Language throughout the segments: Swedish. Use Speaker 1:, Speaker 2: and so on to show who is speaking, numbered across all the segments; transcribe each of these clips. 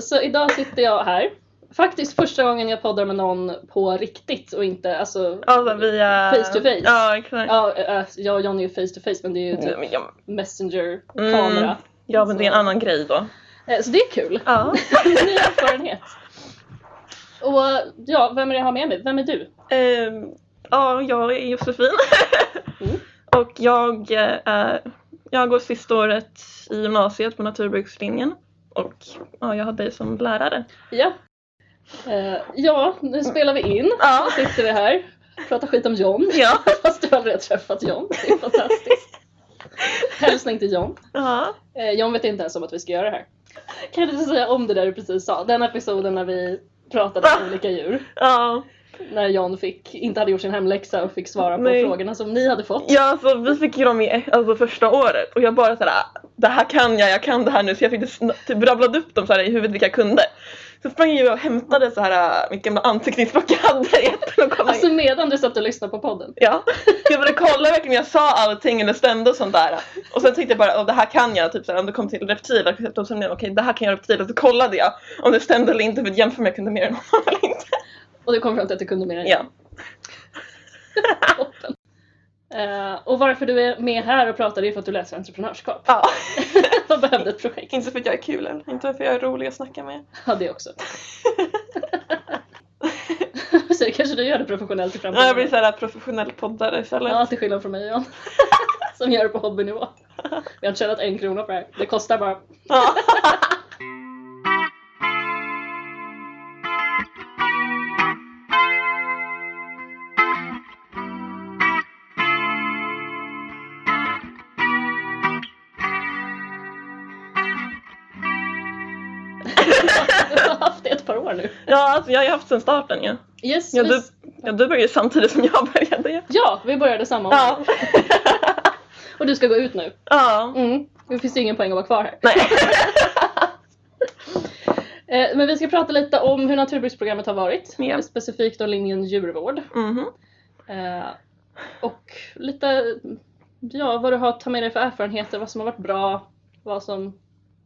Speaker 1: så idag sitter jag här. Faktiskt första gången jag poddar med någon på riktigt och inte alltså
Speaker 2: Ja, men via...
Speaker 1: Face to face.
Speaker 2: Ja, exakt.
Speaker 1: Ja, eh, jag och Johnny är face to face men det är ju typ
Speaker 2: Ja,
Speaker 1: messenger-kamera.
Speaker 2: Mm. ja, men det är en annan grej då.
Speaker 1: Eh, Så det är kul.
Speaker 2: Ja.
Speaker 1: Ny erfarenhet. Och ja, vem är det jag har med mig? Vem är du?
Speaker 2: Ehm, ja, jag är Josefin.
Speaker 1: Mm.
Speaker 2: Och jag, eh, är, jag går sista året i gymnasiet på naturbrukslinjen. Och ja, jag har dig som lärare.
Speaker 1: Ja. Eh, ja, nu spelar vi in.
Speaker 2: Ja.
Speaker 1: Nu sitter vi här. Pratar skit om John.
Speaker 2: Ja.
Speaker 1: Fast du aldrig har träffat John. Det är fantastiskt. Hälsning till John.
Speaker 2: ja.
Speaker 1: Eh, John vet inte ens om att vi ska göra det här. Kan du inte säga om det där du precis sa? Den episoden när vi pratade om olika djur.
Speaker 2: ja.
Speaker 1: När John fick, inte hade gjort sin hemläxa och fick svara på
Speaker 2: Nej.
Speaker 1: frågorna som ni hade fått.
Speaker 2: Ja, alltså, vi fick ju dem i alltså, första året och jag bara såhär, det här kan jag, jag kan det här nu. Så jag fick det sn- typ rabblade upp dem såhär i huvudet vilka jag kunde. Så sprang jag och hämtade så här, min gamla anteckningsbok jag hade i ettan och kollade.
Speaker 1: Alltså medan du satt och lyssnade på podden.
Speaker 2: Ja, jag började kolla verkligen, jag sa allting och det stämde och sånt där. Och sen tänkte jag bara, "Åh, det här kan jag, typ såhär, om det kom till reptiler, då sa jag okej det här kan jag reptiler, så kollade jag om det stämde eller inte för att jämföra om jag kunde mer än honom eller inte.
Speaker 1: Och du kom fram till att du kunde mer än
Speaker 2: Ja.
Speaker 1: Toppen. Eh, och varför du är med här och pratar det är för att du läser entreprenörskap.
Speaker 2: ja.
Speaker 1: Man behövde ett projekt.
Speaker 2: Inte för att jag är kul eller inte för att jag är rolig att snacka med.
Speaker 1: Ja, det också. Så det kanske du gör det professionellt i
Speaker 2: Ja,
Speaker 1: framtiden.
Speaker 2: jag blir såhär professionell poddare istället.
Speaker 1: Ja, till skillnad från mig John. Som gör det på hobbynivå. Jag har inte tjänat en krona på det här. Det kostar bara.
Speaker 2: Ja.
Speaker 1: Jag har haft det ett par år nu.
Speaker 2: ja, alltså jag har ju haft sen starten ju.
Speaker 1: Yes,
Speaker 2: Ja,
Speaker 1: vi-
Speaker 2: du, ja, du började ju samtidigt som jag började ju.
Speaker 1: ja, vi började samma år.
Speaker 2: Ja.
Speaker 1: Och du ska gå ut nu.
Speaker 2: ja.
Speaker 1: Mm. Det finns ju ingen poäng att vara kvar här.
Speaker 2: Nej.
Speaker 1: Eh, men vi ska prata lite om hur naturbruksprogrammet har varit.
Speaker 2: Ja.
Speaker 1: Specifikt om linjen djurvård.
Speaker 2: Mhm.
Speaker 1: Eh, och lite ja, vad du har att ta med dig för erfarenheter, vad som har varit bra, vad som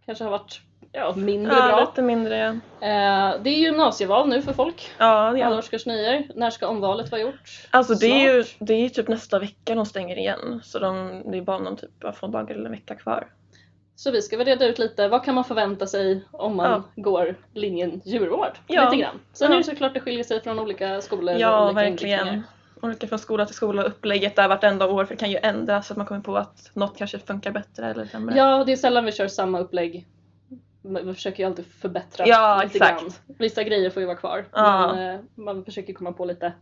Speaker 1: kanske har varit ja, mindre
Speaker 2: Ja,
Speaker 1: bra.
Speaker 2: lite mindre ja.
Speaker 1: Eh, det är gymnasieval nu för folk,
Speaker 2: Ja, det är
Speaker 1: alla årskurs nior. När ska omvalet vara gjort?
Speaker 2: Alltså det är, ju,
Speaker 1: Snart.
Speaker 2: det är ju typ nästa vecka de stänger igen. Så de, det är bara om de typ har få dagar eller en vecka kvar.
Speaker 1: Så vi ska väl reda ut lite, vad kan man förvänta sig om man går linjen djurvård?
Speaker 2: Ja.
Speaker 1: Lite grann. Sen är det
Speaker 2: Ja.
Speaker 1: såklart det skiljer sig från olika skolor och
Speaker 2: Ja,
Speaker 1: olika
Speaker 2: verkligen.
Speaker 1: inriktningar.
Speaker 2: Olika från skola till skola och upplägget där vartenda år för det kan ju ändras så att man kommer på att något kanske funkar bättre eller sämre.
Speaker 1: Ja, det är sällan vi kör samma upplägg. Men Vi försöker ju alltid förbättra
Speaker 2: Ja, exakt.
Speaker 1: grann. Vissa grejer får ju vara kvar.
Speaker 2: Ja.
Speaker 1: Men eh, man försöker komma på lite,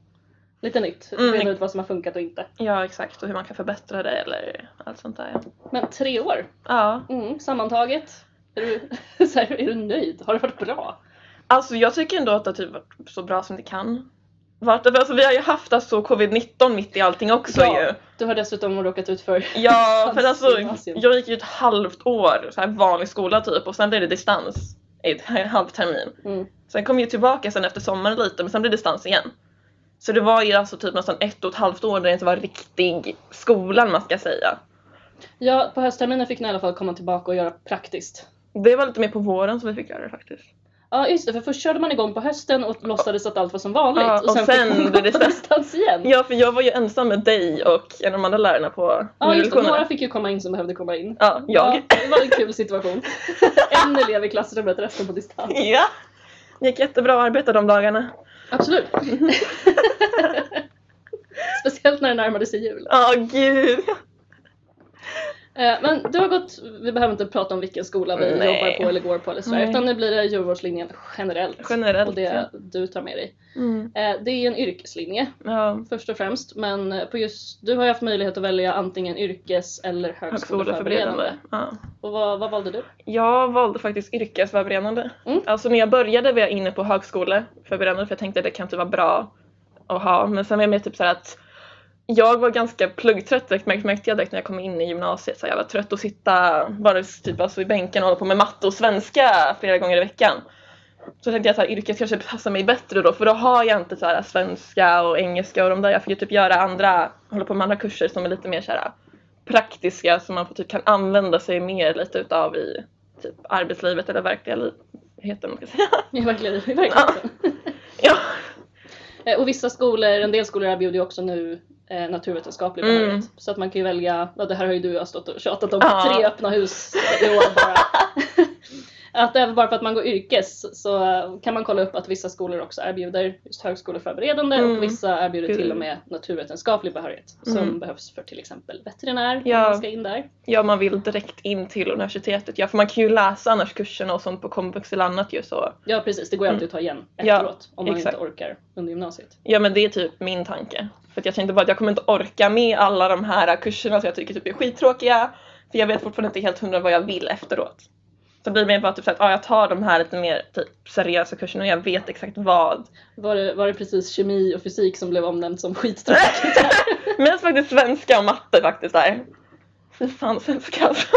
Speaker 1: lite nytt.
Speaker 2: Mm.
Speaker 1: Reda ut vad som har funkat och inte.
Speaker 2: Ja, exakt och hur man kan förbättra det eller allt sånt där. Ja,
Speaker 1: Men tre år,
Speaker 2: ja.
Speaker 1: mm, sammantaget. Är du, så här, är du nöjd? Har det varit bra?
Speaker 2: alltså jag tycker ändå att det har typ varit så bra som det kan. Vart, alltså, vi har ju haft alltså covid-19 mitt i allting också
Speaker 1: Ja.
Speaker 2: ju.
Speaker 1: Du har dessutom råkat ut för...
Speaker 2: Ja, för alltså
Speaker 1: Gymnasium.
Speaker 2: jag gick ju ett halvt år så här vanlig skola typ och sen blev det distans i ett- en halv termin.
Speaker 1: Mm.
Speaker 2: Sen kom jag tillbaka sen efter sommaren lite men sen blev det distans igen. Så det var ju alltså typ nästan ett och ett halvt år där det inte var riktig skolan man ska säga.
Speaker 1: Ja, på höstterminen fick ni i alla fall komma tillbaka och göra praktiskt.
Speaker 2: Det var lite mer på våren som vi fick göra det faktiskt.
Speaker 1: Ja just det, för först körde man igång på hösten och låtsades att allt var som vanligt.
Speaker 2: Ja, och
Speaker 1: fick
Speaker 2: sen
Speaker 1: man
Speaker 2: blev
Speaker 1: gå
Speaker 2: det
Speaker 1: på
Speaker 2: så-
Speaker 1: distans igen.
Speaker 2: Ja för jag var ju ensam med dig och en av de andra lärarna på
Speaker 1: Ja just det,
Speaker 2: lektionerna.
Speaker 1: några fick ju komma in som behövde komma in.
Speaker 2: Ja, jag.
Speaker 1: Ja, det var en kul situation. En elev i klassrummet, resten på distans.
Speaker 2: Ja! Det gick jättebra att arbeta de dagarna.
Speaker 1: Absolut. Speciellt när det närmade sig jul.
Speaker 2: Ja gud!
Speaker 1: Eh, Men du har gått, vi behöver inte prata om vilken skola vi
Speaker 2: Nej.
Speaker 1: jobbar på eller går på eller sådär,
Speaker 2: Nej.
Speaker 1: utan nu blir det djurvårdslinjen generellt.
Speaker 2: Generellt,
Speaker 1: Och det du tar med dig.
Speaker 2: Mm.
Speaker 1: Eh, Det är en yrkeslinje
Speaker 2: Ja.
Speaker 1: först och främst, men på just, du har ju haft möjlighet att välja antingen yrkes eller högskoleförberedande.
Speaker 2: Högskoleförberedande. Ja.
Speaker 1: Och vad, vad valde du?
Speaker 2: Jag valde faktiskt yrkesförberedande.
Speaker 1: Mm.
Speaker 2: Alltså när jag började var jag inne på högskoleförberedande för jag tänkte att det kan inte vara bra att ha. Men sen var jag mer typ så här att jag var ganska pluggtrött direkt, märkte märkte jag direkt när jag kom in i gymnasiet. Så jag var trött att sitta bara typ alltså i bänken och hålla på med matte och svenska flera gånger i veckan. Så tänkte jag att yrket kanske passar mig bättre då för då har jag inte så här svenska och engelska och de där. Jag får ju typ göra andra, hålla på med andra kurser som är lite mer så här praktiska som man får typ kan använda sig mer lite utav i typ arbetslivet eller verkliga li- verkligheten. Man ska säga.
Speaker 1: Ja, verkligen. verkligen.
Speaker 2: Ja.
Speaker 1: Eh, Och vissa skolor, en del skolor erbjuder ju också nu eh, naturvetenskaplig
Speaker 2: Mm.
Speaker 1: behörighet. Så att man kan ju välja, ja, det här har ju du stått och tjatat om
Speaker 2: Ja.
Speaker 1: på tre öppna hus i år bara. att även bara för att man går yrkes så eh, kan man kolla upp att vissa skolor också erbjuder just högskoleförberedande
Speaker 2: Mm.
Speaker 1: och vissa erbjuder till och med naturvetenskaplig behörighet
Speaker 2: Mm.
Speaker 1: som behövs för till exempel veterinär
Speaker 2: Ja.
Speaker 1: om man ska in där.
Speaker 2: ja, man vill direkt in till universitetet. Ja, för man kan ju läsa annars kurserna och sånt på komvux eller annat ju så.
Speaker 1: Ja precis, det går ju alltid att ta igen
Speaker 2: Mm. Ja,
Speaker 1: efteråt om man
Speaker 2: exakt.
Speaker 1: inte orkar under gymnasiet.
Speaker 2: Ja, men det är typ min tanke. För att jag tänkte bara att jag kommer inte orka med alla de här kurserna som jag tycker typ är skittråkiga. För jag vet fortfarande inte helt hundra vad jag vill efteråt. Så det blir mer bara typ så att ah, jag tar de här lite mer typ, seriösa kurserna och jag vet exakt vad.
Speaker 1: Var det, var det precis kemi och fysik som blev omnämnt som skittråkigt?
Speaker 2: Mest faktiskt svenska och matte faktiskt där. Fy fan svenska alltså.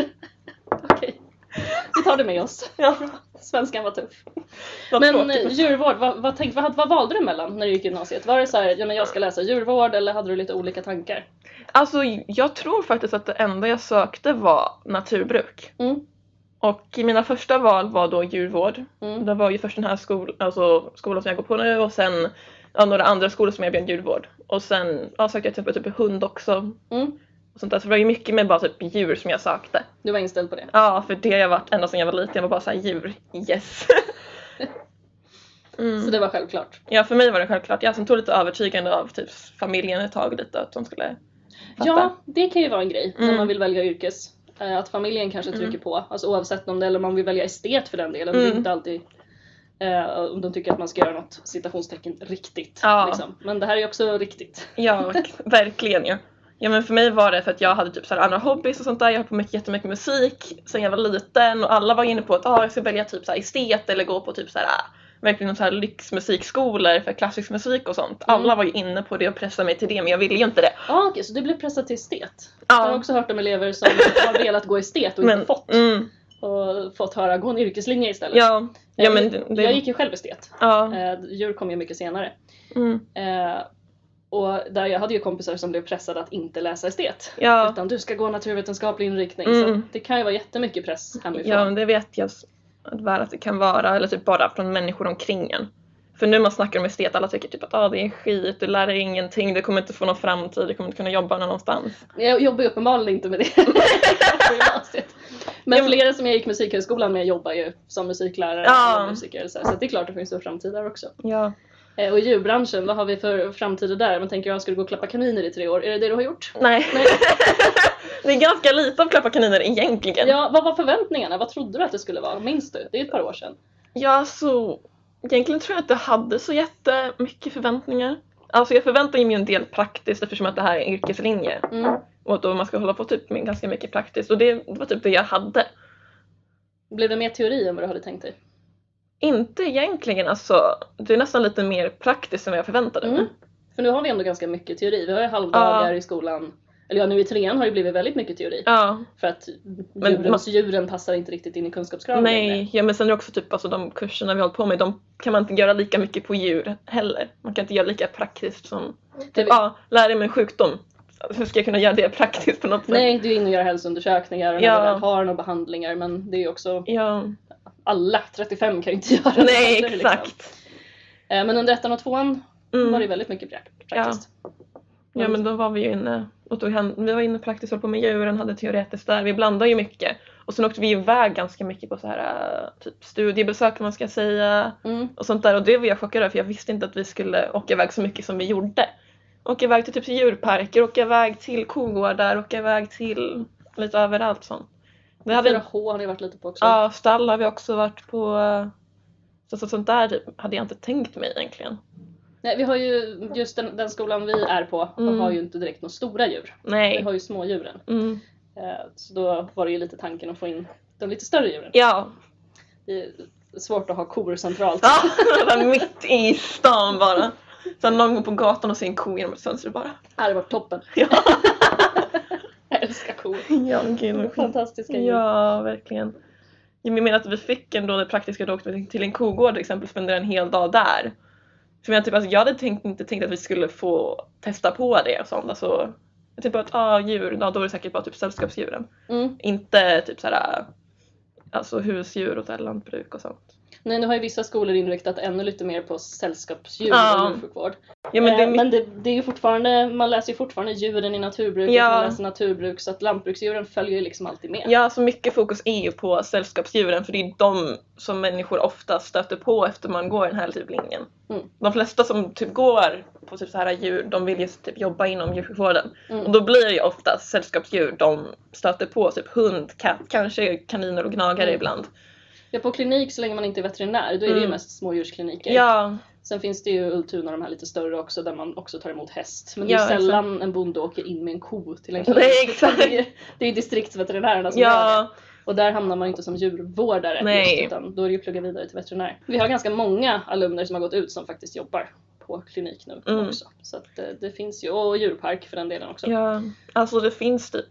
Speaker 1: Okej. Vi tar det med oss.
Speaker 2: Ja,
Speaker 1: Svenskan var tuff.
Speaker 2: vad
Speaker 1: men
Speaker 2: tråkigt.
Speaker 1: eh, djurvård, vad, vad, tänkte, vad, hade- vad valde du mellan när du gick i gymnasiet? Var det så här, ja men jag ska läsa djurvård eller hade du lite olika tankar?
Speaker 2: Alltså jag tror faktiskt att det enda jag sökte var naturbruk.
Speaker 1: Mm.
Speaker 2: Och mina första val var då djurvård.
Speaker 1: Mm.
Speaker 2: Det var ju först den här skol, alltså, skolan som jag går på nu och sen ja, några andra skolor som erbjöd djurvård. Och sen ja, sökte jag till exempel typ hund också.
Speaker 1: Mm.
Speaker 2: Och sånt där. Så det var ju mycket med bara typ djur som jag sökte.
Speaker 1: Du var inställd på det?
Speaker 2: Ja, för det har jag varit ända sedan jag var liten. Jag var bara såhär djur, yes. mm.
Speaker 1: Så det var självklart.
Speaker 2: Ja, för mig var det självklart. Jag som tog lite övertygande av typ familjen ett tag lite att de skulle fatta.
Speaker 1: Ja, det kan ju vara en grej
Speaker 2: Mm.
Speaker 1: när man vill välja yrkes. Eh, Att familjen kanske trycker på, alltså oavsett om det eller om man vill välja estet för den delen. Det
Speaker 2: Mm.
Speaker 1: är inte alltid eh, om de tycker att man ska göra något citationstecken riktigt.
Speaker 2: Ja.
Speaker 1: Liksom. Men det här är ju också riktigt.
Speaker 2: Ja, verk- verkligen ju. Ja men för mig var det för att jag hade typ så här andra hobbys och sånt där. Jag höll på mycket, jättemycket musik sen jag var liten och alla var inne på att ah, jag ska välja typ så här estet eller gå på typ så här äh, verkligen så här lyxmusikskolor för klassisk musik och sånt.
Speaker 1: Mm.
Speaker 2: Alla var ju inne på det och pressade mig till det men jag ville ju inte det.
Speaker 1: Ja, okej, så du blev pressad till estet? Jag har
Speaker 2: Ja,
Speaker 1: också hört om elever som har velat gå estet och
Speaker 2: men,
Speaker 1: inte fått.
Speaker 2: Mm,
Speaker 1: och fått höra gå en yrkeslinje istället. Eh,
Speaker 2: ja, ja men det,
Speaker 1: Jag
Speaker 2: det,
Speaker 1: gick ju själv estet.
Speaker 2: ja,
Speaker 1: Eh, Djur kom ju mycket senare.
Speaker 2: mm,
Speaker 1: Eh, Och där jag hade ju kompisar som blev pressade att inte läsa estet.
Speaker 2: ja,
Speaker 1: Utan du ska gå naturvetenskaplig inriktning.
Speaker 2: Mm.
Speaker 1: Så det kan ju vara jättemycket press hemifrån.
Speaker 2: ja men det vet jag s- att väl att det kan vara eller typ bara från människor omkring en. För nu man snackar om estet, alla tycker typ att ah, det är skit, du lär dig ingenting, du kommer inte få någon framtid, du kommer inte kunna jobba någonstans.
Speaker 1: Jag jobbar ju uppenbarligen inte med det på gymnasiet.
Speaker 2: Ja,
Speaker 1: Men
Speaker 2: men-
Speaker 1: flera som jag gick musikhögskolan med jobbar ju som musiklärare
Speaker 2: Ja.
Speaker 1: eller musiker. Så, här. så det är klart det finns en framtid där också.
Speaker 2: Ja.
Speaker 1: Eh, Och i djurbranschen, vad har vi för framtider där? Man tänker, jag skulle gå och klappa kaniner i tre år. Är det det du har gjort?
Speaker 2: Nej.
Speaker 1: Nej.
Speaker 2: det är ganska lite av klappa kaniner egentligen.
Speaker 1: Ja, vad var förväntningarna? Vad trodde du att det skulle vara? Minns du? Det är ett par år sedan.
Speaker 2: Ja, så egentligen tror jag inte jag hade så jättemycket förväntningar. Alltså jag förväntade mig en del praktiskt eftersom att det här är en yrkeslinje
Speaker 1: Mm.
Speaker 2: och att då man ska hålla på typ med ganska mycket praktiskt och det, det var typ det jag hade.
Speaker 1: Blev det mer teori än vad du hade tänkt dig?
Speaker 2: Inte egentligen alltså, det är nästan lite mer praktiskt än vad jag förväntade mig.
Speaker 1: Mm. För nu har vi ändå ganska mycket teori. Vi har ju halvdagar
Speaker 2: Ja.
Speaker 1: i skolan. Eller ja, nu i trean har det blivit väldigt mycket teori.
Speaker 2: Ja,
Speaker 1: För att
Speaker 2: Men
Speaker 1: djurens, djuren passar inte riktigt in i kunskapskraven längre.
Speaker 2: nej, ja, men sen är det också typ alltså de kurserna vi hållit på med, de kan man inte göra lika mycket på djur heller. Man kan inte göra lika praktiskt som
Speaker 1: Det-
Speaker 2: Ja, lära mig en sjukdom. Hur ska jag kunna göra det praktiskt på något sätt?
Speaker 1: Nej, du är inne och gör hälsoundersökningar och
Speaker 2: Ja.
Speaker 1: ja. har några behandlingar men det är ju också
Speaker 2: Ja,
Speaker 1: alla 35 kan ju inte göra det
Speaker 2: nej
Speaker 1: heller, liksom.
Speaker 2: exakt.
Speaker 1: Eh, Men under ettan och tvåan var det
Speaker 2: Mm.
Speaker 1: väldigt mycket pra- praktiskt.
Speaker 2: Ja men då var vi ju inne och tog hand, vi var inne praktiskt, höll på med djuren, hade teoretiskt där, vi blandade ju mycket. Och sen åkte vi iväg ganska mycket på så här eh, typ studiebesök om man ska säga
Speaker 1: Mm.
Speaker 2: och sånt där och det var jag chockad över för jag visste inte att vi skulle åka iväg så mycket som vi gjorde. Åka iväg till typ djurparker, åka iväg till kogårdar, åka iväg till lite överallt sånt. Det hade
Speaker 1: 4H har ni varit lite på också.
Speaker 2: Ja, stall har vi också varit på. Så, så, sånt där typ hade jag inte tänkt mig egentligen.
Speaker 1: Nej, vi har ju just den, den skolan vi är på
Speaker 2: Mm.
Speaker 1: har ju inte direkt några stora djur. Vi
Speaker 2: Nej.
Speaker 1: har ju smådjuren.
Speaker 2: Mm.
Speaker 1: Eh, Så då var det ju lite tanken att få in de lite större djuren.
Speaker 2: Ja.
Speaker 1: Det är svårt att ha kor centralt.
Speaker 2: ja. där mitt i stan bara. Sen någon går på gatan och ser en ko genom ett fönster bara.
Speaker 1: Det hade varit toppen.
Speaker 2: Ja.
Speaker 1: Jag älskar kor.
Speaker 2: Ja, gud vad skit.
Speaker 1: Fantastiska djur.
Speaker 2: Ja, verkligen. Jag menar att vi fick ändå det praktiska då åkte vi till en kogård till exempel spendera en hel dag där. För jag, typ, alltså, jag hade tänkt, inte tänkt att vi skulle få testa på det och sånt. Alltså, jag tänkte bara att ah, djur, ja, då är det säkert bara typ sällskapsdjuren.
Speaker 1: Mm.
Speaker 2: Inte typ såhär alltså husdjur och så här lantbruk och sånt.
Speaker 1: Nej, nu har ju vissa skolor inriktat ännu lite mer på sällskapsdjur
Speaker 2: Ja.
Speaker 1: och djursjukvård.
Speaker 2: Ja, men det är
Speaker 1: Eh,
Speaker 2: mycket,
Speaker 1: men det, det är ju fortfarande, man läser ju fortfarande djuren i naturbruket,
Speaker 2: Ja.
Speaker 1: man läser naturbruk, så att lantbruksdjuren följer ju liksom alltid med.
Speaker 2: ja, så mycket fokus är ju på sällskapsdjuren för det är de som människor ofta stöter på efter man går den här typ linjen.
Speaker 1: Mm.
Speaker 2: De flesta som typ går på typ så här djur, de vill ju typ jobba inom djursjukvården.
Speaker 1: Mm.
Speaker 2: Och då blir det ju ofta sällskapsdjur de stöter på, typ hund, katt, kanske kaniner och gnagare
Speaker 1: Mm.
Speaker 2: ibland.
Speaker 1: Ja, på klinik så länge man inte är veterinär, då är det ju
Speaker 2: Mm.
Speaker 1: mest smådjurskliniker.
Speaker 2: Ja,
Speaker 1: Sen finns det ju Ultuna och de här lite större också där man också tar emot häst. Men det
Speaker 2: Ja,
Speaker 1: är ju sällan en bonde åker in med en ko till en klinik.
Speaker 2: nej exakt.
Speaker 1: Det är ju- det är ju distriktsveterinärerna som Alltså, gör det.
Speaker 2: Ja,
Speaker 1: Och där hamnar man ju inte som djurvårdare
Speaker 2: Nej.
Speaker 1: Just, utan då är det ju plugga vidare till veterinär. Vi har ganska många alumner som har gått ut som faktiskt jobbar på klinik nu
Speaker 2: Mm.
Speaker 1: också. Så att eh, det finns ju, och djurpark för den delen också.
Speaker 2: ja, alltså det finns typ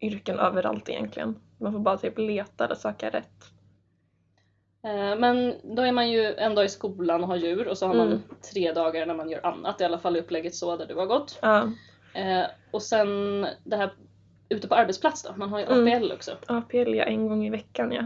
Speaker 2: yrken överallt egentligen. Man får bara typ leta eller söka rätt.
Speaker 1: Eh, Men då är man ju en dag i skolan och har djur och så har
Speaker 2: Mm.
Speaker 1: man tre dagar när man gör annat, i alla fall i upplägget så där du har gått.
Speaker 2: Ja,
Speaker 1: Eh, Och sen det här ute på arbetsplats då, man har ju
Speaker 2: Mm.
Speaker 1: APL också.
Speaker 2: APL ja, en gång i veckan ja.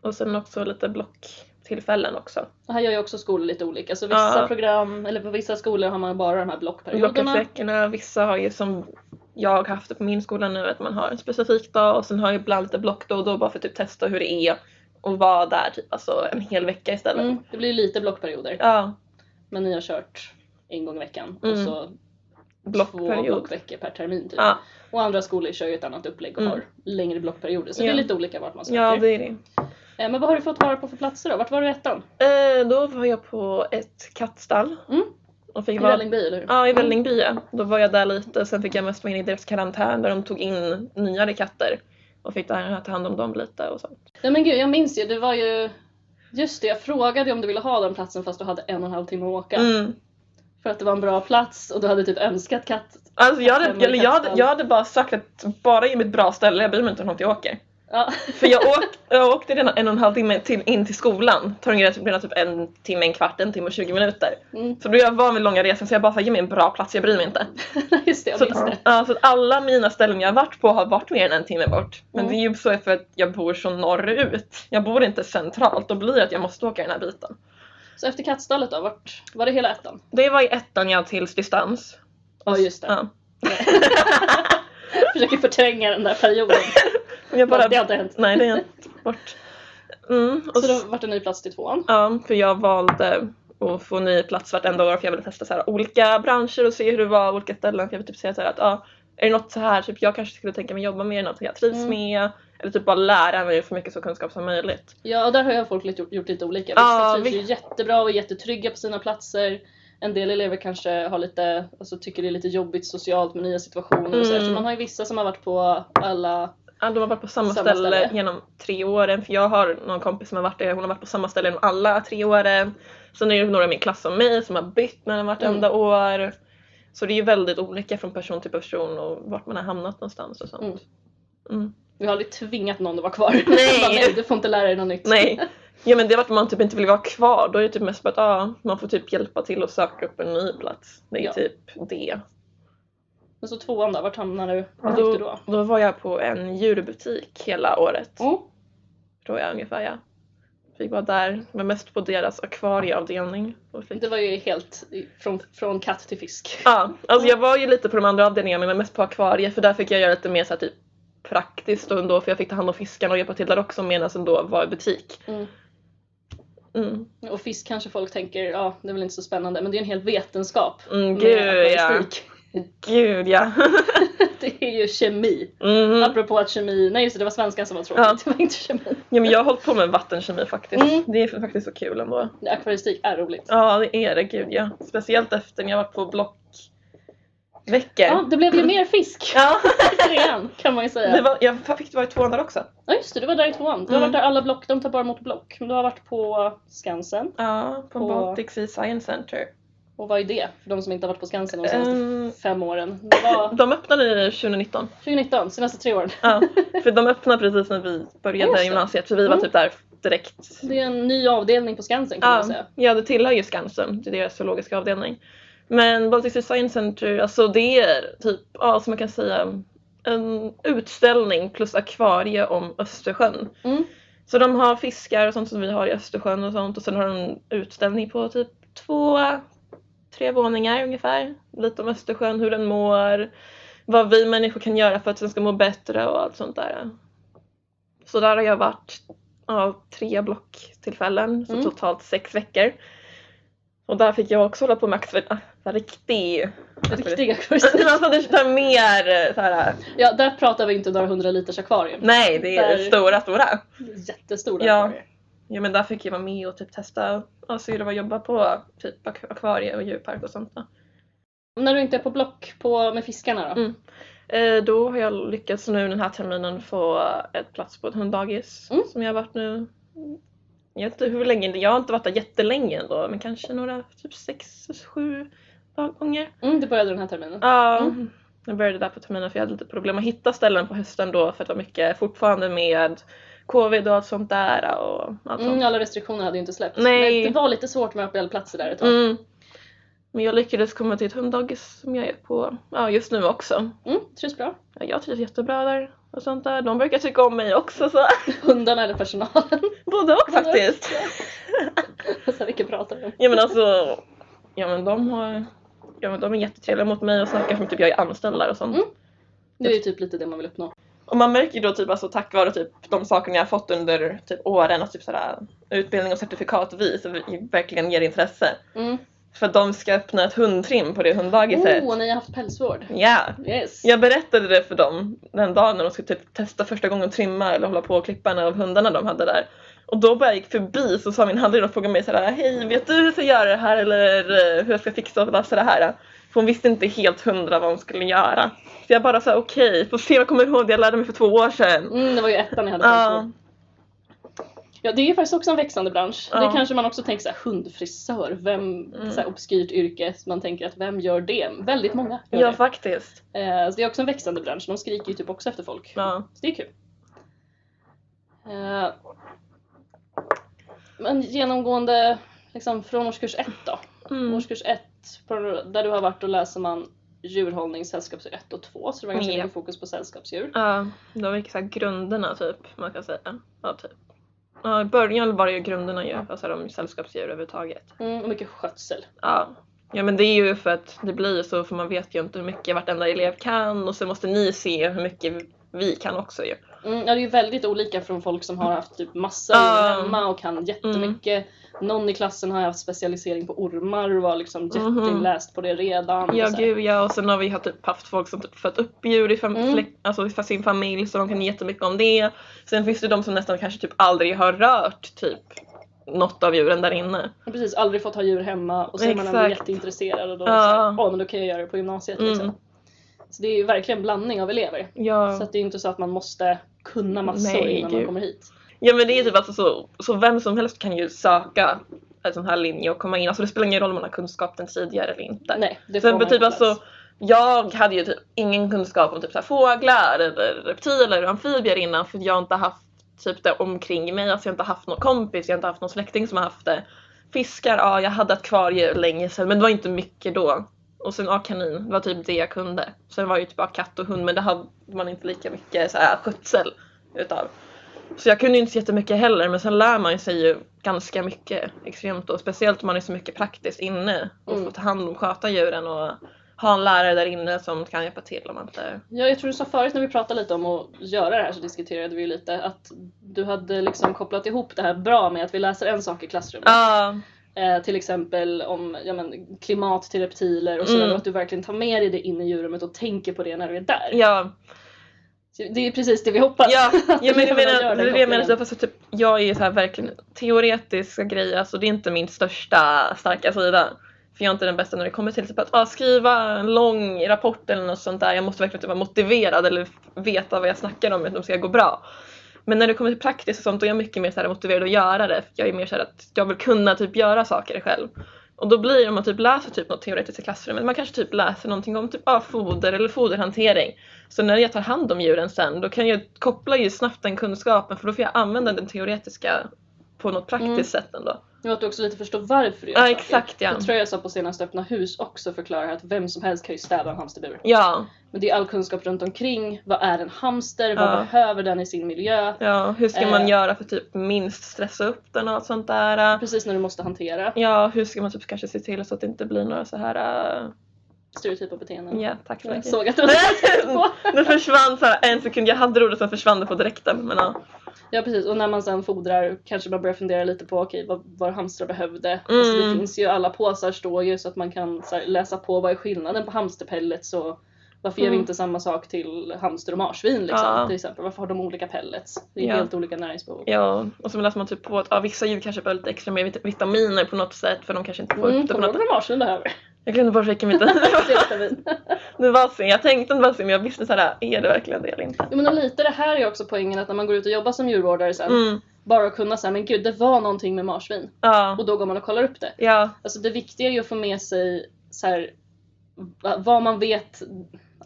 Speaker 2: Och sen också lite blocktillfällen också.
Speaker 1: Och här gör ju också skolor lite olika, så vissa
Speaker 2: Ja.
Speaker 1: program, eller på vissa skolor har man bara de här blockperioderna.
Speaker 2: Blockveckorna, vissa har ju som jag haft det på min skola nu att man har en specifik dag och sen har jag ibland lite block då och då bara för att typ testa hur det är och vara där typ alltså en hel vecka istället.
Speaker 1: Mm, det blir ju lite blockperioder.
Speaker 2: Ja,
Speaker 1: Men ni har kört en gång i veckan och
Speaker 2: Mm.
Speaker 1: så två
Speaker 2: blockperiod.
Speaker 1: blockveckor per termin typ.
Speaker 2: Ja,
Speaker 1: Och andra skolor kör ju ett annat upplägg och
Speaker 2: Mm.
Speaker 1: har längre blockperioder. Så
Speaker 2: Ja.
Speaker 1: det är lite olika vart man söker.
Speaker 2: ja det är det.
Speaker 1: Eh, Men vad har du fått vara på för platser då? Vart var du i ettan?
Speaker 2: Eh, då var jag på ett kattstall.
Speaker 1: Mm.
Speaker 2: Och fick
Speaker 1: I
Speaker 2: vara
Speaker 1: Vällingby eller hur? Mm.
Speaker 2: Ja, i Vällingby. ja. Då var jag där lite, sen fick jag mest vara inne i deras karantän där de tog in nyare katter och fick där ta hand om dem lite och sånt.
Speaker 1: Nej men gud, jag minns ju. Det var ju... Just det, jag frågade ju om du ville ha den platsen fast du hade en och en halv timme att åka.
Speaker 2: Mm.
Speaker 1: För att det var en bra plats och du hade typ önskat katt.
Speaker 2: Alltså jag
Speaker 1: Hem
Speaker 2: hade,
Speaker 1: och
Speaker 2: eller jag, hade,
Speaker 1: kattstall.
Speaker 2: jag hade bara sagt att bara ge mig ett bra ställe, jag bryr mig inte om att jag åker.
Speaker 1: Ja.
Speaker 2: För jag, åk, jag åkte redan en och en halv timme till, in till skolan, tog redan typ en timme, en kvart, en timme och 20 minuter.
Speaker 1: Mm.
Speaker 2: Så då är jag van vid långa resor så jag bara sa ge mig en bra plats, jag bryr mig inte.
Speaker 1: Just det, jag
Speaker 2: Så,
Speaker 1: minns det.
Speaker 2: att, ja, så att alla mina ställen jag har varit på har varit mer än en timme bort. Men
Speaker 1: Mm.
Speaker 2: det är ju så för att jag bor så norrut. Jag bor inte centralt, då blir det att jag måste åka den här biten.
Speaker 1: Så efter kattstallet då, vart var det hela ettan?
Speaker 2: Det var i ettan jag tills distans.
Speaker 1: Ja just det.
Speaker 2: Ja.
Speaker 1: Försöker förtränga den där perioden.
Speaker 2: Jag bara,
Speaker 1: Det har inte hänt.
Speaker 2: nej, det är inte bort. Mm, och
Speaker 1: Så
Speaker 2: så
Speaker 1: då vart det ny plats till tvåan.
Speaker 2: ja, för jag valde att få ny plats vartenda år för jag ville testa så här, olika branscher och se hur det var, olika ställen. För jag vill typ säga så här att ja, är det något så här, typ jag kanske skulle tänka mig jobba med, något jag trivs
Speaker 1: Mm.
Speaker 2: med. Eller typ bara lära mig så mycket så kunskap som möjligt.
Speaker 1: Ja, och där har jag folk lite, gjort, gjort lite olika. Vissa
Speaker 2: Ja,
Speaker 1: trivs
Speaker 2: vi-
Speaker 1: ju jättebra och är jättetrygga på sina platser. En del elever kanske har lite, alltså, tycker det är lite jobbigt socialt med nya situationer och så, här.
Speaker 2: Mm.
Speaker 1: så man har ju vissa som har varit på alla,
Speaker 2: Ja, de har varit på samma,
Speaker 1: Samma
Speaker 2: ställe,
Speaker 1: ställe.
Speaker 2: genom tre åren. För jag har någon kompis som har varit där, hon har varit på samma ställe genom alla tre åren. Sen är det några i min klass som mig som har bytt mellan vartenda år. Så det är ju väldigt olika från person till person och vart man har hamnat någonstans och sånt.
Speaker 1: Mm.
Speaker 2: Mm.
Speaker 1: vi har aldrig tvingat någon att vara kvar.
Speaker 2: Nej.
Speaker 1: Bara, nej du får inte lära dig något nytt.
Speaker 2: Nej. Ja men det är vart man typ inte vill vara kvar. Då är det typ mest bara att ja, man får typ hjälpa till och söka upp en ny plats. Det är
Speaker 1: Ja.
Speaker 2: typ det.
Speaker 1: Men så tvåan då, vart hamnade du?
Speaker 2: Och
Speaker 1: Vart gick du
Speaker 2: då,
Speaker 1: då?
Speaker 2: då var jag på en djurbutik hela året.
Speaker 1: Mm.
Speaker 2: tror jag ungefär ja. Fick vara där, men mest på deras akvarieavdelning. Och fick...
Speaker 1: Mm. Det var ju helt i- från, från katt till fisk.
Speaker 2: Ja, alltså jag var ju lite på de andra avdelningarna men mest på akvarie för där fick jag göra lite mer så här, typ praktiskt då ändå för jag fick ta hand om fiskarna och hjälpa till där också medan jag ändå var i butik.
Speaker 1: Mm.
Speaker 2: Mm,
Speaker 1: Och fisk kanske folk tänker, ja det är väl inte så spännande, men det är en hel vetenskap.
Speaker 2: mm
Speaker 1: med
Speaker 2: gud ja.
Speaker 1: akvaristik.
Speaker 2: Gud ja.
Speaker 1: Det är ju kemi.
Speaker 2: Mm.
Speaker 1: Apropå att kemi, nej just det, det var svenskan som var tråkigt,
Speaker 2: Ja.
Speaker 1: det var inte kemi.
Speaker 2: Ja men jag har hållit på med vattenkemi faktiskt.
Speaker 1: Mm.
Speaker 2: Det är faktiskt så kul ändå.
Speaker 1: Akvaristik är roligt.
Speaker 2: Ja det är det, gud ja. Speciellt efter när jag varit på blockveckor.
Speaker 1: Ja, det blev ju mer fisk
Speaker 2: Ja.
Speaker 1: i trean kan man ju säga.
Speaker 2: Det var, jag fick vara i tvåan där också.
Speaker 1: Ja just det, du var där i tvåan. Du har
Speaker 2: Mm.
Speaker 1: varit där alla block, de tar bara emot block. Men du har varit på Skansen.
Speaker 2: Ja, på
Speaker 1: På-
Speaker 2: Baltic Sea Science Center.
Speaker 1: Och vad är det? För de som inte har varit på Skansen de senaste
Speaker 2: Ehm,
Speaker 1: fem åren. Det var
Speaker 2: de öppnade 2019.
Speaker 1: 2019, senaste tre åren.
Speaker 2: Ja, för de öppnade precis när vi
Speaker 1: Just
Speaker 2: började
Speaker 1: det.
Speaker 2: gymnasiet, så vi var
Speaker 1: Mm.
Speaker 2: typ där direkt.
Speaker 1: Det är en ny avdelning på Skansen kan man
Speaker 2: Ja,
Speaker 1: säga.
Speaker 2: ja, det tillhör ju Skansen, det är deras zoologiska avdelning. Men Baltic Sea Science Center, alltså det är typ, ja, som man kan säga, en utställning plus akvarie om Östersjön.
Speaker 1: Mm.
Speaker 2: Så de har fiskar och sånt som vi har i Östersjön och sånt och sen har de en utställning på typ två, tre våningar ungefär. Lite om Östersjön, hur den mår, vad vi människor kan göra för att den ska må bättre och allt sånt där. Så där har jag varit ja, tre blocktillfällen, så
Speaker 1: Mm.
Speaker 2: totalt sex veckor. Och där fick jag också hålla på med aktiviteter. Riktig...
Speaker 1: Riktiga
Speaker 2: Det var
Speaker 1: kurser.
Speaker 2: så att det tar mer så här.
Speaker 1: Ja, där pratar vi inte några hundra liters akvarium.
Speaker 2: Nej, det är
Speaker 1: Där-
Speaker 2: stora, stora.
Speaker 1: Jättestora
Speaker 2: Ja.
Speaker 1: akvarier.
Speaker 2: Ja men där fick jag vara med och typ testa och se hur det var att jobba på typ ak- akvarie och djurpark och sånt. Då.
Speaker 1: När du inte är på block på, med fiskarna då?
Speaker 2: Mm. Eh, då har jag lyckats nu den här terminen få ett plats på ett hunddagis
Speaker 1: Mm.
Speaker 2: som jag har varit nu. Jag vet inte hur länge, jag har inte varit där jättelänge ändå men kanske några typ sex, sju dag- gånger.
Speaker 1: Mm, det började den här terminen.
Speaker 2: Ja,
Speaker 1: Mm.
Speaker 2: jag började där på terminen för jag hade lite problem att hitta ställen på hösten då för att det var mycket fortfarande med covid och allt sånt där och allt sånt.
Speaker 1: Mm, alla restriktioner hade ju inte släppts.
Speaker 2: Nej.
Speaker 1: Men det var lite svårt med öppelplatser där ett tag.
Speaker 2: Mm. Men jag lyckades komma till ett hunddagis som jag är på ja, just nu också.
Speaker 1: Mm, trivs bra.
Speaker 2: Ja, jag trivs jättebra där och sånt där. De brukar tycka om mig också så
Speaker 1: Hundarna eller personalen.
Speaker 2: både och faktiskt.
Speaker 1: alltså, vilka pratar vi om?
Speaker 2: Ja men alltså, ja men de har Ja men de är jättetrevliga mot mig och snackar som typ jag är anställd där och sånt.
Speaker 1: Mm. Det är ju typ lite det man vill uppnå.
Speaker 2: Och man märker ju då typ alltså tack vare typ de sakerna jag har fått under typ åren att typ sådär utbildning och certifikat vi så vi verkligen ger intresse.
Speaker 1: Mm.
Speaker 2: För att de ska öppna ett hundtrim på det hunddagiset.
Speaker 1: Oh, ni har haft pälsvård.
Speaker 2: Ja!
Speaker 1: Yes.
Speaker 2: Jag berättade det för dem den dagen när de skulle typ testa första gången att trimma eller hålla på och klippa en av hundarna de hade där. Och då bara jag gick förbi så sa min handledare och frågade mig såhär Hej, vet du hur jag ska göra det här eller eh, hur jag ska fixa och lösa det här? För hon visste inte helt hundra vad hon skulle göra. Så jag bara sa okej, får se om jag kommer ihåg det jag lärde mig för två år sedan. Alltså,
Speaker 1: Mm, det var ju ettan ni hade
Speaker 2: Ja,
Speaker 1: pälsvård. Ja, det är ju faktiskt också en växande bransch.
Speaker 2: Ja.
Speaker 1: Det kanske man också tänker såhär, hundfrisör, vem,
Speaker 2: Mm.
Speaker 1: så här, obskyrt yrke, man tänker att vem gör det? Väldigt många gör
Speaker 2: ja
Speaker 1: det.
Speaker 2: faktiskt.
Speaker 1: Eh, så det är också en växande bransch, de skriker ju typ också efter folk.
Speaker 2: Ja.
Speaker 1: Så det är kul. Eh, men genomgående, liksom från årskurs ett då?
Speaker 2: Mm.
Speaker 1: Årskurs ett, på, där du har varit, då läser man djurhållning, sällskapsdjur 1 och 2, så det var ganska
Speaker 2: Mm, Ja.
Speaker 1: mycket fokus på sällskapsdjur.
Speaker 2: Ja, det var mycket så här grunderna typ, man kan säga. Ja, typ. Ja, I början var det ju grunderna ju, alltså de sällskapsdjur överhuvudtaget.
Speaker 1: Mm, och mycket skötsel.
Speaker 2: Ja. ja, men det är ju för att det blir ju så för man vet ju inte hur mycket vartenda elev kan och så måste ni se hur mycket vi kan också ju.
Speaker 1: Mm, ja, det är ju väldigt olika från folk som har haft typ massa
Speaker 2: Mm. Ja. Mm.
Speaker 1: djur hemma och kan jättemycket. Någon i klassen har haft specialisering på ormar och var liksom
Speaker 2: Mhm.
Speaker 1: jätteinläst på det redan. och
Speaker 2: Ja
Speaker 1: så här.
Speaker 2: gud ja, och sen har vi haft, typ, haft folk som typ fött upp djur i fam-
Speaker 1: Mm.
Speaker 2: släkt, alltså, i sin familj så de kan jättemycket om det. Sen finns det de som nästan kanske typ aldrig har rört typ något av djuren där inne.
Speaker 1: Och Precis, aldrig fått ha djur hemma och så är man ändå
Speaker 2: Exakt.
Speaker 1: jätteintresserad och då
Speaker 2: Ja.
Speaker 1: ja. åh men då kan jag göra det på gymnasiet
Speaker 2: Mm.
Speaker 1: liksom. Så det är ju verkligen blandning av elever.
Speaker 2: Ja.
Speaker 1: Så att det är ju inte så att man måste kunna massor
Speaker 2: Nej,
Speaker 1: innan
Speaker 2: gud.
Speaker 1: man kommer hit.
Speaker 2: Ja men det är typ alltså så, så vem som helst kan ju söka en sån här linje och komma in. Alltså det spelar ingen roll om man har kunskapen tidigare eller inte.
Speaker 1: Nej, det får
Speaker 2: Sen
Speaker 1: man
Speaker 2: för typ
Speaker 1: inte plats.
Speaker 2: alltså, jag hade ju typ ingen kunskap om typ så här fåglar eller reptiler och amfibier innan för jag har inte haft typ det omkring mig. Alltså jag har inte haft någon kompis, jag har inte haft någon släkting som har haft det. Fiskar, ja jag hade akvarier länge sedan men det var inte mycket då. Och sen ja, kanin, det var typ det jag kunde. Sen var det ju typ bara katt och hund men det hade man inte lika mycket så här, skötsel utav. Så jag kunde ju inte så jättemycket heller men sen lär man ju sig ju ganska mycket extremt då. Speciellt om man är så mycket praktiskt inne och
Speaker 1: Mm.
Speaker 2: får ta hand om, sköta djuren och ha en lärare där inne som kan hjälpa till om man inte...
Speaker 1: Ja, jag tror du sa förut när vi pratade lite om att göra det här så diskuterade vi ju lite att du hade liksom kopplat ihop det här bra med att vi läser en sak i klassrummet.
Speaker 2: Ja,
Speaker 1: Eh, till exempel om ja, men, klimat till reptiler och sådär
Speaker 2: Mm.
Speaker 1: och att du verkligen tar med dig det in i djurrummet och tänker på det när du är där.
Speaker 2: ja,
Speaker 1: Så Det är precis det vi hoppas.
Speaker 2: ja, ja men jag
Speaker 1: eleverna
Speaker 2: menar,
Speaker 1: gör
Speaker 2: det
Speaker 1: den
Speaker 2: är det jag menar,
Speaker 1: kopplingen.
Speaker 2: fast typ, jag är ju så här verkligen teoretiska grejer, alltså det är inte min största starka sida. För jag är inte den bästa när det kommer till typ att ah, skriva en lång rapport eller något sånt där. Jag måste verkligen typ vara motiverad eller veta vad jag snackar om för att de ska gå bra. Men när det kommer till praktiskt och sånt då är jag mycket mer så här motiverad att göra det. För jag är mer så här att jag vill kunna typ göra saker själv. Och då blir det om man typ läser typ något teoretiskt i klassrummet. Man kanske typ läser någonting om typ ah, foder eller foderhantering. Så när jag tar hand om djuren sen då kan jag koppla ju snabbt den kunskapen för då får jag använda den teoretiska på något praktiskt
Speaker 1: Mm.
Speaker 2: sätt ändå.
Speaker 1: Men att du också lite förstår varför du gör
Speaker 2: Ja,
Speaker 1: saker.
Speaker 2: exakt, ja.
Speaker 1: Det tror jag jag sa på senaste Öppna hus också förklarar att vem som helst kan ju städa en hamsterbur.
Speaker 2: Ja,
Speaker 1: Men det är all kunskap runt omkring. Vad är en hamster? Vad
Speaker 2: Ja.
Speaker 1: behöver den i sin miljö?
Speaker 2: ja. Hur ska man
Speaker 1: Eh.
Speaker 2: göra för att typ minst stressa upp den och allt sånt där?
Speaker 1: Precis när du måste hantera
Speaker 2: Ja, hur ska man typ kanske se till så att det inte blir några så här... eh,
Speaker 1: stereotypa beteenden.
Speaker 2: Ja, tack så
Speaker 1: Jag
Speaker 2: mycket.
Speaker 1: såg att det var
Speaker 2: Det försvann så här en sekund, jag hade ordet sen försvann det på direkten. Men ja.
Speaker 1: Ja precis, och när man sen fodrar kanske man börjar fundera lite på okej vad, vad hamstrar behövde. Alltså, det
Speaker 2: Mm.
Speaker 1: finns ju, alla påsar står ju så att man kan så här, läsa på vad är skillnaden på hamsterpellets och varför ger vi
Speaker 2: Mm.
Speaker 1: inte samma sak till hamster och marsvin liksom,
Speaker 2: Ja.
Speaker 1: till exempel. Varför har de olika pellets? Det är
Speaker 2: Ja.
Speaker 1: helt olika näringsbehov.
Speaker 2: ja. Och så läser man typ på att ja, vissa djur kanske behöver lite extra mer vit- vitaminer på något sätt för de kanske inte får
Speaker 1: Mm,
Speaker 2: upp det på
Speaker 1: kommer
Speaker 2: något
Speaker 1: du ihåg vad marsvin behöver?
Speaker 2: Jag glömde bort vilken vitamin det var.
Speaker 1: C-vitamin.
Speaker 2: Det var synd. Jag tänkte inte var synd men jag visste såhär, är det verkligen det eller inte?
Speaker 1: Jo men och lite det här är också poängen att när man går ut och jobbar som djurvårdare sen,
Speaker 2: Mm.
Speaker 1: bara att kunna säga men gud det var någonting med marsvin.
Speaker 2: Ja.
Speaker 1: Och då går man och kollar upp det.
Speaker 2: Ja.
Speaker 1: Alltså det viktiga är ju att få med sig så här, va- vad man vet,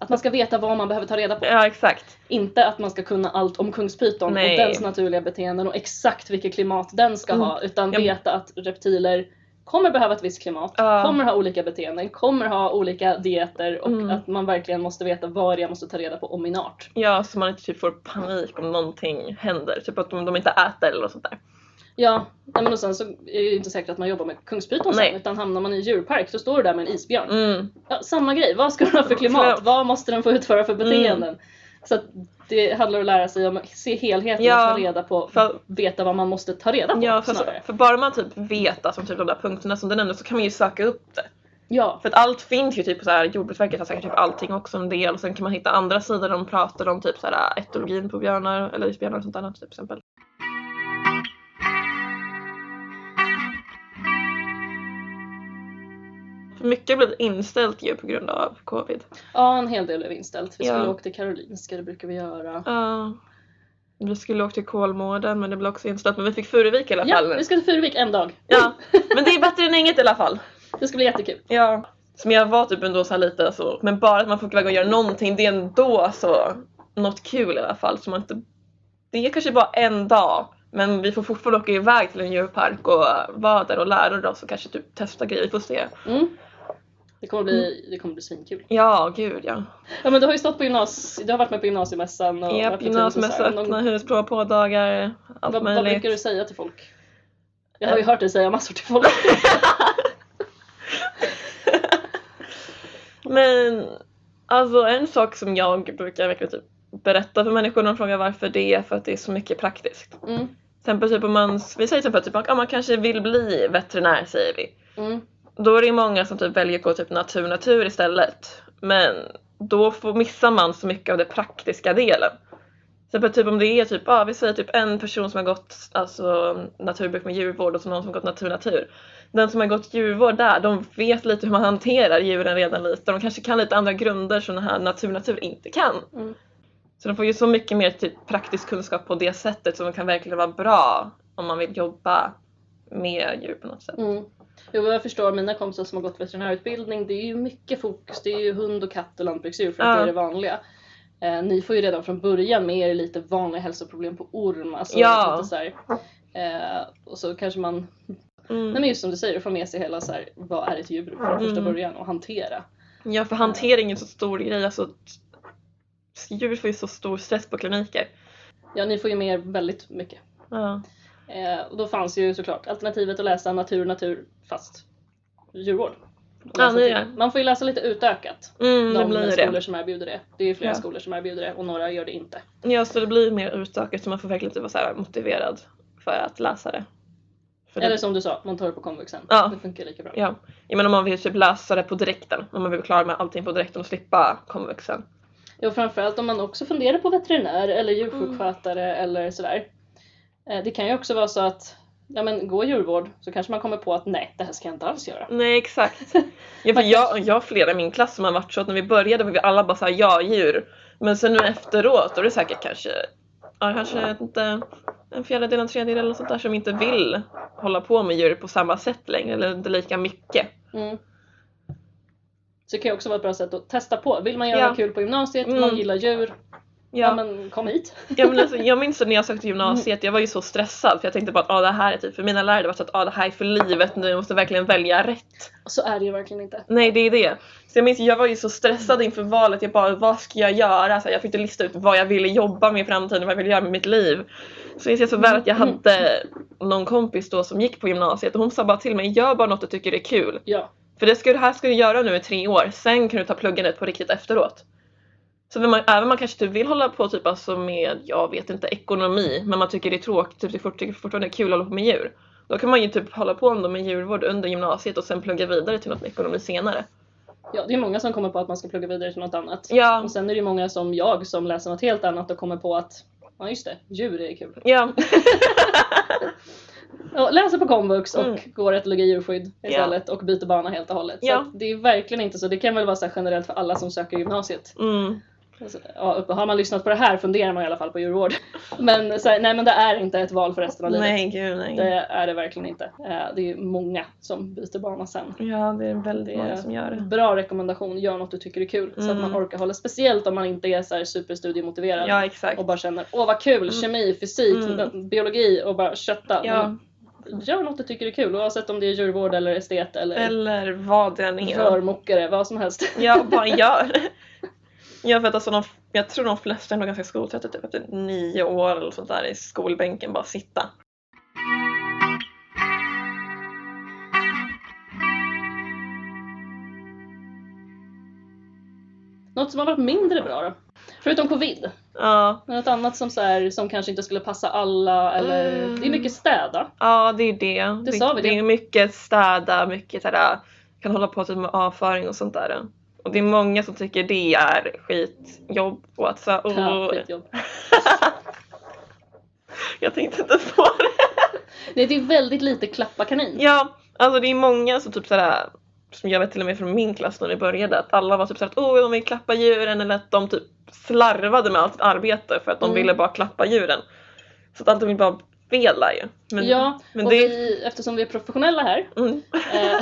Speaker 1: att man ska veta vad man behöver ta reda på.
Speaker 2: ja, exakt.
Speaker 1: Inte att man ska kunna allt om kungspyton och
Speaker 2: Nej. Mm.
Speaker 1: dens naturliga beteenden och exakt vilket klimat den ska ha. Utan
Speaker 2: Ja.
Speaker 1: veta att reptiler kommer behöva ett visst klimat,
Speaker 2: Ja.
Speaker 1: kommer ha olika beteenden, kommer ha olika dieter och
Speaker 2: Mm.
Speaker 1: att man verkligen måste veta vad det är jag måste ta reda på om min art.
Speaker 2: Ja, så man inte typ får panik om någonting händer. Typ att de, de inte äter eller något sånt där.
Speaker 1: Ja, nej, men och sen så är det ju inte säkert att man jobbar med kungspyton
Speaker 2: Nej.
Speaker 1: sen utan hamnar man i en djurpark så står du där med en isbjörn.
Speaker 2: Mm.
Speaker 1: Ja, samma grej, vad ska den ha för klimat?
Speaker 2: Förlåt.
Speaker 1: Vad måste den få utföra för
Speaker 2: Mm.
Speaker 1: beteenden? Så att det handlar om att lära sig om att se helheten
Speaker 2: Ja,
Speaker 1: och ta reda på,
Speaker 2: för-
Speaker 1: veta vad man måste ta reda på
Speaker 2: Ja, för,
Speaker 1: snarare.
Speaker 2: för bara man typ vet alltså, typ de där punkterna som du nämnde så kan man ju söka upp det.
Speaker 1: Ja,
Speaker 2: För att allt finns ju typ på så här, Jordbruksverket har säkert typ allting också en del och sen kan man hitta andra sidor där de pratar om typ så här etologin på björnar eller isbjörnar och sånt annat till exempel. För Mycket blev inställt ju på grund av covid.
Speaker 1: ja en hel del blev inställt. Vi
Speaker 2: Ja.
Speaker 1: skulle åka till Karolinska, det brukar vi göra.
Speaker 2: Ja. vi skulle åka till Kolmården men det blev också inställt men vi fick Furuvik i alla fall.
Speaker 1: Ja,
Speaker 2: nu.
Speaker 1: vi ska till Furuvik en dag.
Speaker 2: ja. Men det är bättre än inget i alla fall.
Speaker 1: Det ska bli jättekul.
Speaker 2: Ja. Som jag var typ ändå så här lite så, men bara att man får iväg och göra någonting, det är ändå så något kul i alla fall. Så man inte, det är kanske bara en dag, men vi får fortfarande åka iväg till en djurpark och vara där och lära oss och kanske typ testa grejer, vi får se.
Speaker 1: Mm. Det kommer
Speaker 2: Mm.
Speaker 1: bli, det kommer bli svinkul.
Speaker 2: Ja, gud ja.
Speaker 1: Ja men du har ju stått på gymnasiet, du har varit med på gymnasiemässan och
Speaker 2: Japp,
Speaker 1: varit på turism
Speaker 2: gymnasiemässa,
Speaker 1: och typ så här.
Speaker 2: öppna hus, prova på dagar, allt
Speaker 1: Vad, vad
Speaker 2: möjligt.
Speaker 1: brukar du säga till folk? Jag har ju hört dig säga massor till folk.
Speaker 2: Men alltså en sak som jag brukar verkligen typ berätta för människor när de frågar varför det är för att det är så mycket praktiskt.
Speaker 1: Mm.
Speaker 2: Till exempel typ om man, vi säger till exempel typ att ja, man kanske vill bli veterinär säger vi.
Speaker 1: Mm.
Speaker 2: Då är det ju många som typ väljer att gå typ natur natur istället. Men då får, missar man så mycket av den praktiska delen. Till exempel typ om det är typ, ja, vi säger typ en person som har gått alltså, naturbruk med djurvård och så någon som har gått natur natur. Den som har gått djurvård där, de vet lite hur man hanterar djuren redan lite. De kanske kan lite andra grunder som den här natur natur inte kan.
Speaker 1: Mm.
Speaker 2: Så de får ju så mycket mer typ praktisk kunskap på det sättet som kan verkligen vara bra om man vill jobba med djur på något sätt.
Speaker 1: Mm. Jo, vad jag förstår mina kompisar som har gått veterinärutbildning, det är ju mycket fokus. Det är ju hund och katt och lantbruksdjur för att
Speaker 2: Ja.
Speaker 1: det är det vanliga. Eh, ni får ju redan från början med er lite vanliga hälsoproblem på orm. Alltså
Speaker 2: Ja.
Speaker 1: lite så här, eh, och så kanske man,
Speaker 2: Mm.
Speaker 1: nej men just som du säger, får med sig hela så här, vad är ett djur från första
Speaker 2: Mm.
Speaker 1: början och hantera.
Speaker 2: Ja,
Speaker 1: Eh.
Speaker 2: för hantering är en så stor grej. Alltså, t- djur får ju så stor stress på kliniker.
Speaker 1: Ja, ni får ju med er väldigt mycket.
Speaker 2: Ja.
Speaker 1: Eh, och då fanns ju såklart alternativet att läsa natur, natur, fast djurvård.
Speaker 2: Ja,
Speaker 1: Läsa
Speaker 2: det
Speaker 1: till-
Speaker 2: är det.
Speaker 1: Man får ju läsa lite utökat.
Speaker 2: Mm, det
Speaker 1: de
Speaker 2: blir ju
Speaker 1: skolor
Speaker 2: det.
Speaker 1: som erbjuder det. Det är flera
Speaker 2: Ja.
Speaker 1: skolor som erbjuder det och några gör det inte.
Speaker 2: Ja, så det blir mer utökat så man får verkligen typ vara så här motiverad för att läsa det. För
Speaker 1: Eller
Speaker 2: det
Speaker 1: som du sa, man tar det på komvuxen.
Speaker 2: Ja.
Speaker 1: Det funkar lika bra.
Speaker 2: ja. Jag menar om man vill typ läsa det på direkten, om man vill klara med allting på direkten och slippa komvuxen.
Speaker 1: Ja, Och framförallt om man också funderar på veterinär eller
Speaker 2: Mm.
Speaker 1: djursjukskötare eller sådär. Eh, Det kan ju också vara så att Ja men gå djurvård så kanske man kommer på att nej det här ska jag inte alls göra.
Speaker 2: Nej exakt. Ja, för jag, jag har flera i min klass som har varit så att när vi började var vi alla bara såhär ja djur. Men sen nu efteråt då är det säkert kanske, ja kanske jag vet inte, en fjärdedel, en tredjedel eller sånt där som inte vill hålla på med djur på samma sätt längre eller inte lika mycket.
Speaker 1: Mm. Så det kan ju också vara ett bra sätt att testa på. Vill man göra
Speaker 2: Ja.
Speaker 1: kul på gymnasiet,
Speaker 2: Mm.
Speaker 1: man gillar djur, Ja.
Speaker 2: Ja.
Speaker 1: men kom hit.
Speaker 2: Ja, men alltså, jag minns att när jag sökte gymnasiet, jag var ju så stressad för jag tänkte bara att ah, det här är typ, för mina lärare var så att ah, det här är för livet nu, jag måste verkligen välja rätt.
Speaker 1: Och så är det ju verkligen inte.
Speaker 2: Nej det är det. Så jag minns, jag var ju så stressad inför valet, jag bara vad ska jag göra? Så här, jag fick inte lista ut vad jag ville jobba med i framtiden, vad jag ville göra med mitt liv. Så minns jag så väl att jag hade någon kompis då som gick på gymnasiet och hon sa bara till mig, gör bara något du tycker är kul.
Speaker 1: Ja.
Speaker 2: För det, ska, det här ska du göra nu i tre år, sen kan du ta pluggandet på riktigt efteråt. Så vill man, även man kanske typ vill hålla på typ alltså med, jag vet inte, ekonomi, men man tycker det är tråkigt, typ det fort- tycker fortfarande är kul att hålla på med djur. Då kan man ju typ hålla på ändå med djurvård under gymnasiet och sen plugga vidare till något med ekonomi senare.
Speaker 1: ja, det är många som kommer på att man ska plugga vidare till något annat.
Speaker 2: Ja,
Speaker 1: Och sen är det ju många som jag som läser något helt annat och kommer på att ja just det, djur är kul.
Speaker 2: ja,
Speaker 1: Och läser på komvux och
Speaker 2: Mm.
Speaker 1: går etologi och djurskydd
Speaker 2: Ja.
Speaker 1: istället och byter bana helt och hållet.
Speaker 2: Ja.
Speaker 1: Så att det är verkligen inte så. Det kan väl vara så här generellt för alla som söker gymnasiet.
Speaker 2: mm,
Speaker 1: Alltså, ja, uppe- har man lyssnat på det här funderar man i alla fall på djurvård. Men så här, nej men det är inte ett val för resten av livet.
Speaker 2: nej gud nej.
Speaker 1: Det är det verkligen inte. Eh, Det är ju många som byter bana sen.
Speaker 2: Ja, det är väldigt många som gör det.
Speaker 1: Bra rekommendation, gör något du tycker är kul så att man
Speaker 2: Mm.
Speaker 1: orkar hålla. Speciellt om man inte är så här superstudiemotiverad
Speaker 2: Ja, exakt.
Speaker 1: och bara känner åh vad kul, kemi, fysik,
Speaker 2: Mm.
Speaker 1: biologi och bara kötta.
Speaker 2: Ja,
Speaker 1: Men Gör något du tycker är kul oavsett om det är djurvård eller estet eller,
Speaker 2: eller vad det än är.
Speaker 1: rörmokare, vad som helst.
Speaker 2: Ja, bara gör. Jag, vet, alltså, de, jag tror de flesta är nog ganska skoltrötta typ efter nio år eller sånt där i skolbänken, bara sitta.
Speaker 1: Något som har varit mindre bra då? Förutom covid.
Speaker 2: Ja,
Speaker 1: Något annat som, så här, som kanske inte skulle passa alla eller
Speaker 2: Mm.
Speaker 1: det är mycket städa.
Speaker 2: ja det är det.
Speaker 1: Det sa vi,
Speaker 2: det.
Speaker 1: det-
Speaker 2: är mycket städa, mycket sådär, kan hålla på typ med avföring och sånt där. Och det är många som tycker det är skitjobb och att så,
Speaker 1: Ja,
Speaker 2: och,
Speaker 1: skitjobb.
Speaker 2: Jag tänkte inte på det.
Speaker 1: Nej, det är väldigt lite klappa kanin.
Speaker 2: Ja, alltså det är många som typ sådär som jag vet till och med från min klass när vi började att alla var typ såhär att oh, de vill klappa djuren eller att de typ slarvade med allt sitt arbete för att de
Speaker 1: Mm.
Speaker 2: ville bara klappa djuren. Så att allt vill bara fela ju. Men,
Speaker 1: ja
Speaker 2: men
Speaker 1: och
Speaker 2: det-
Speaker 1: vi, eftersom vi är professionella här
Speaker 2: Mm,
Speaker 1: eh,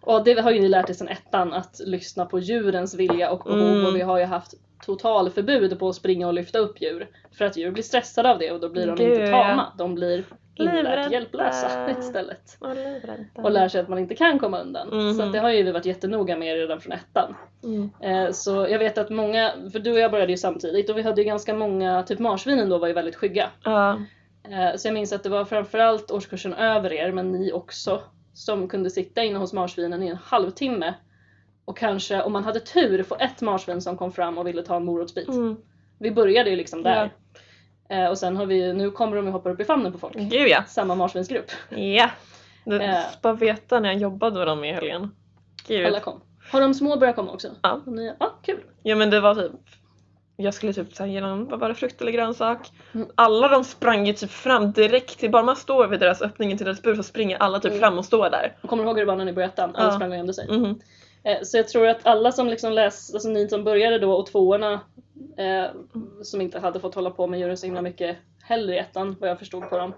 Speaker 1: och det har ju ni lärt er sedan ettan att lyssna på djurens vilja och behov
Speaker 2: Mm.
Speaker 1: och vi har ju haft totalförbud på att springa och lyfta upp djur för att djur blir stressade av det och då blir de
Speaker 2: Gud,
Speaker 1: inte
Speaker 2: ja.
Speaker 1: tama. De blir inlärt
Speaker 2: Livrädda.
Speaker 1: hjälplösa istället.
Speaker 2: och livrädda.
Speaker 1: Och lär sig att man inte kan komma undan.
Speaker 2: Mhm.
Speaker 1: Så att det har ju vi varit jättenoga med redan från ettan.
Speaker 2: Mm.
Speaker 1: Eh, Så jag vet att många, för du och jag började ju samtidigt och vi hade ju ganska många, typ marsvinen då var ju väldigt skygga.
Speaker 2: Ja.
Speaker 1: Eh, Så jag minns att det var framförallt årskursen över er, men ni också, som kunde sitta inne hos marsvinen i en halvtimme och kanske, om man hade tur, få ett marsvin som kom fram och ville ta en morotsbit.
Speaker 2: Mm.
Speaker 1: Vi började ju liksom där. Eh, Och sen har vi ju, nu kommer de och hoppar upp i famnen på folk.
Speaker 2: Gud ja.
Speaker 1: Samma marsvinsgrupp.
Speaker 2: Ja. Du
Speaker 1: Mm. Eh.
Speaker 2: ska bara veta när jag jobbade med dem i helgen. Gud.
Speaker 1: Alla kom. Har de små börjat komma också?
Speaker 2: Ja.
Speaker 1: Och ni, ja, kul.
Speaker 2: Ja men det var typ jag skulle typ så här genom, vad var det, frukt eller grönsak?
Speaker 1: Mm.
Speaker 2: Alla de sprang ju typ fram direkt till, bara man står vid deras öppningen till deras bur så springer alla typ
Speaker 1: Mm.
Speaker 2: fram och står där.
Speaker 1: Och Kommer du ihåg hur det var när ni började ettan? Alla
Speaker 2: Ja.
Speaker 1: sprang och gömde sig.
Speaker 2: Mhm.
Speaker 1: Eh, Så jag tror att alla som liksom läs, alltså ni som började då och tvåorna eh, som inte hade fått hålla på med djuren så himla mycket heller i ettan vad jag förstod på dem.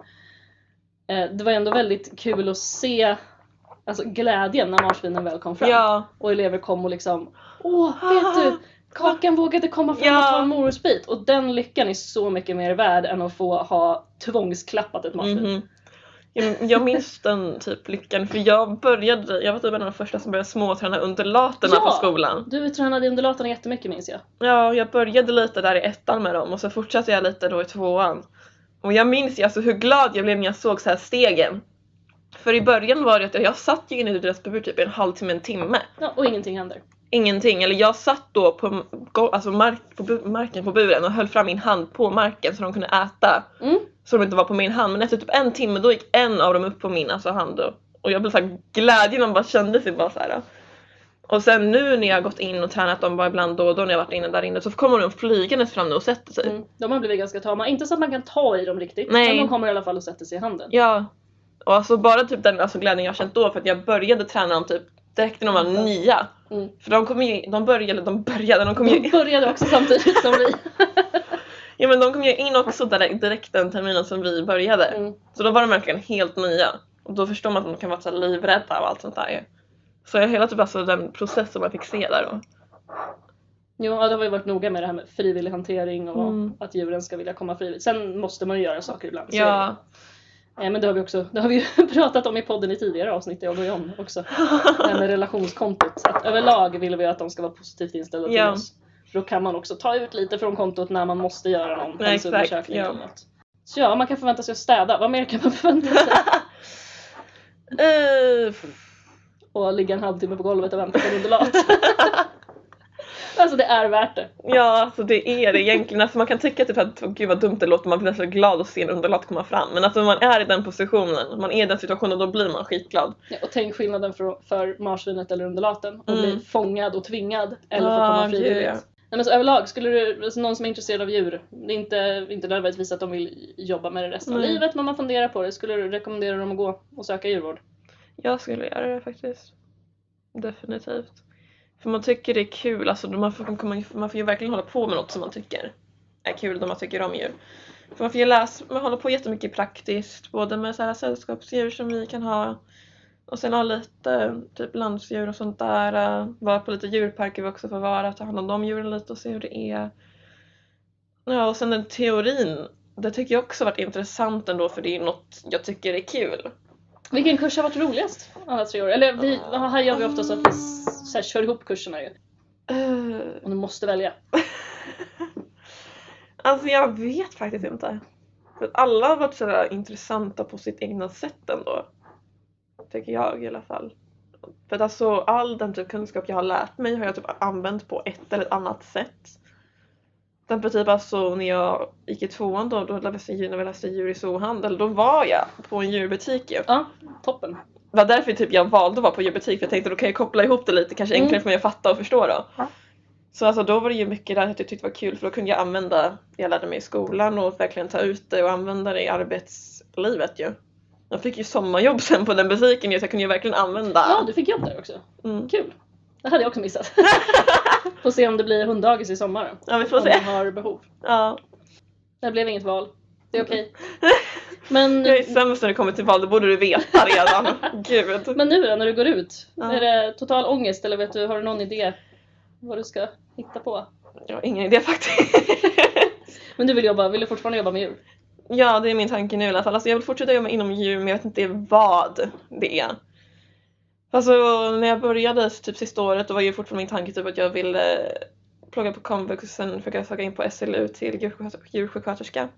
Speaker 1: Eh, det var ändå väldigt kul att se alltså, glädjen när marsvinen väl kom fram.
Speaker 2: Ja,
Speaker 1: Och elever kom och liksom Åh, vet du? Kakan vågade komma fram och
Speaker 2: Ja.
Speaker 1: ta en morotsbit. Och den lyckan är så mycket mer värd än att få ha tvångsklappat ett marsvin.
Speaker 2: Mhm. Jag, jag minns den typ lyckan för jag började, jag var typ en av de första som började småträna undulaterna
Speaker 1: Ja.
Speaker 2: på skolan.
Speaker 1: Du tränade undulaterna jättemycket minns jag.
Speaker 2: Ja, jag började lite där i ettan med dem och så fortsatte jag lite då i tvåan. Och jag minns ju alltså hur glad jag blev när jag såg så här stegen. För i början var det att jag, jag satt ju inne i deras bur typ i en halvtimme, en timme.
Speaker 1: Ja, och ingenting händer.
Speaker 2: ingenting. Eller jag satt då på, m- go- alltså mark, på bu- marken på buren och höll fram min hand på marken så de kunde äta.
Speaker 1: Mm.
Speaker 2: Så de inte var på min hand. Men efter typ en timme då gick en av dem upp på min alltså, hand. Och, och jag blev såhär glädjen man bara kände sig bara såhär. Och sen nu när jag har gått in och tränat dem bara ibland då och då när jag varit inne där inne så kommer de flygandes fram nu och sätter sig.
Speaker 1: Mm, de har blivit ganska tama. Inte så att man kan ta i dem riktigt,
Speaker 2: typ. Nej.
Speaker 1: men de kommer i alla fall och sätter sig i handen.
Speaker 2: Ja. Och alltså bara typ den alltså, glädjen jag har känt då för att jag började träna dem typ direkt när de var nya.
Speaker 1: Mm.
Speaker 2: För de kom ju, de började, de började, de kom ju
Speaker 1: De började också samtidigt som vi.
Speaker 2: Ja men de kom ju in också direkt, direkt den terminen som vi började.
Speaker 1: Mm.
Speaker 2: Så då var de verkligen helt nya. Och då förstår man att de kan vara så här livrädda och allt sånt där ju. Så jag hela typ alltså den processen man fick se där då.
Speaker 1: Jo, ja, det har ju varit noga med det här med frivillig hantering och
Speaker 2: Mm.
Speaker 1: att djuren ska vilja komma frivilligt. Sen måste man ju göra saker ibland. så är
Speaker 2: Ja.
Speaker 1: det. Eh, Men det har vi också det har vi ju pratat om i podden i tidigare avsnitt, jag och John också. Det här med relationskontot. Att överlag vill vi att de ska vara positivt inställda till
Speaker 2: Ja.
Speaker 1: oss. För då kan man också ta ut lite från kontot när man måste göra någon
Speaker 2: Nej, exakt,
Speaker 1: hälsoundersökning
Speaker 2: ja.
Speaker 1: eller något. Så ja, man kan förvänta sig att städa. Vad mer kan man förvänta sig?
Speaker 2: Eh,
Speaker 1: Och ligga en halvtimme på golvet och vänta på en undulat. alltså det är värt det.
Speaker 2: Ja, alltså det är det egentligen. Alltså man kan tycka typ att "Åh, gud vad dumt det låter, man blir så glad att se en undulat komma fram. Men alltså man är i den positionen, man är i den situationen, då blir man skitglad.
Speaker 1: Ja, Och tänk skillnaden för, för marsvinet eller undulaten. Att
Speaker 2: Mm.
Speaker 1: bli fångad och tvingad eller få
Speaker 2: Ah,
Speaker 1: komma
Speaker 2: gud,
Speaker 1: frivilligt.
Speaker 2: ja.
Speaker 1: Nej, men så överlag, skulle du, alltså någon som är intresserad av djur, det är inte, inte nödvändigtvis att de vill jobba med det resten av
Speaker 2: Nej.
Speaker 1: livet men man funderar på det. Skulle du rekommendera dem att gå och söka djurvård?
Speaker 2: Jag skulle göra det faktiskt. Definitivt. För man tycker det är kul, alltså man får, komma- man får ju verkligen hålla på med något som man tycker är kul, då man tycker om djur. För man får ju läsa, man håller på jättemycket praktiskt, både med så här sällskapsdjur som vi kan ha och sen ha lite typ landsdjur och sånt där. eh, Vara på lite djurparker vi också får vara, ta hand om de djuren lite och se hur det är. Ja, och sen den teorin, det tycker jag också varit intressant ändå för det är något jag tycker är kul.
Speaker 1: Vilken kurs har varit roligast alla tre år? Eller vi, här gör vi ofta så att vi s- så här, kör ihop kurserna ju.
Speaker 2: Eh,
Speaker 1: Och du måste välja.
Speaker 2: Alltså jag vet faktiskt inte. För att alla har varit sådär intressanta på sitt egna sätt ändå. Tycker jag i alla fall. För att alltså all den typ kunskap jag har lärt mig har jag typ använt på ett eller ett annat sätt. Sen på typ alltså när jag gick i tvåan då, då läste jag, när vi läste djur i zoohandel, då var jag på en djurbutik ju.
Speaker 1: Ja, toppen.
Speaker 2: Det var därför typ jag valde att vara på djurbutik för jag tänkte då kan jag koppla ihop det lite, kanske
Speaker 1: Mm.
Speaker 2: enklare för mig att fatta och förstå då.
Speaker 1: Ja.
Speaker 2: Så alltså då var det ju mycket där att jag tyckte var kul för då kunde jag använda det jag lärde mig i skolan och verkligen ta ut det och använda det i arbetslivet ju. Jag fick ju sommarjobb sen på den butiken ju så jag kunde ju verkligen använda.
Speaker 1: Ja, du fick jobb där också.
Speaker 2: Mm.
Speaker 1: Kul. Det hade jag också missat. Får se om det blir hunddagis i sommar.
Speaker 2: ja vi får
Speaker 1: Om man
Speaker 2: se.
Speaker 1: har behov.
Speaker 2: Ja.
Speaker 1: Det blev inget val. Det är okej. Men,
Speaker 2: Jag är sämst när det kommer till val, det borde du veta redan. Gud.
Speaker 1: men nu då, när du går ut?
Speaker 2: Ja.
Speaker 1: Är det total ångest eller vet du, har du någon idé vad du ska hitta på?
Speaker 2: Jag har ingen idé faktiskt.
Speaker 1: Men du vill jobba, vill du fortfarande jobba med djur?
Speaker 2: Ja, det är min tanke nu i alla fall. Alltså, jag vill fortsätta jobba inom djur, men jag vet inte vad det är. Alltså, när jag började typ sista året, då var ju fortfarande min tanke typ att jag ville plugga på komvux och sen försöka söka in på SLU till djursjuksköter- djursjuksköterska.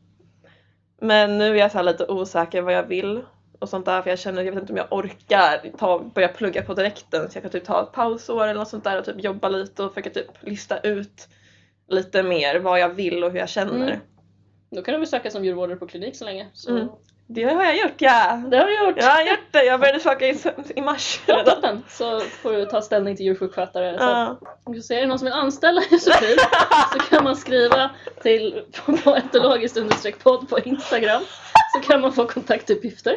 Speaker 2: Men nu är jag så här lite osäker vad jag vill och sånt där, för jag känner, jag vet inte om jag orkar ta, börja plugga på direkten, så jag kan typ ta ett pausår eller något sånt där och typ jobba lite och försöka typ lista ut lite mer vad jag vill och hur jag känner.
Speaker 1: Mm. Då kan du väl söka som djurvårdare på klinik så länge. Så.
Speaker 2: Mm. Det har jag gjort ja!
Speaker 1: Det har du gjort!
Speaker 2: Jag har gjort det, jag började söka i, i mars
Speaker 1: Ja,
Speaker 2: redan.
Speaker 1: toppen! Så får du ta ställning till djursjukskötare. Så.
Speaker 2: Ja.
Speaker 1: Om du ser är det någon som vill anställa Josefin så kan man skriva till på, på etologiskt understreck podd på Instagram så kan man få kontaktuppgifter.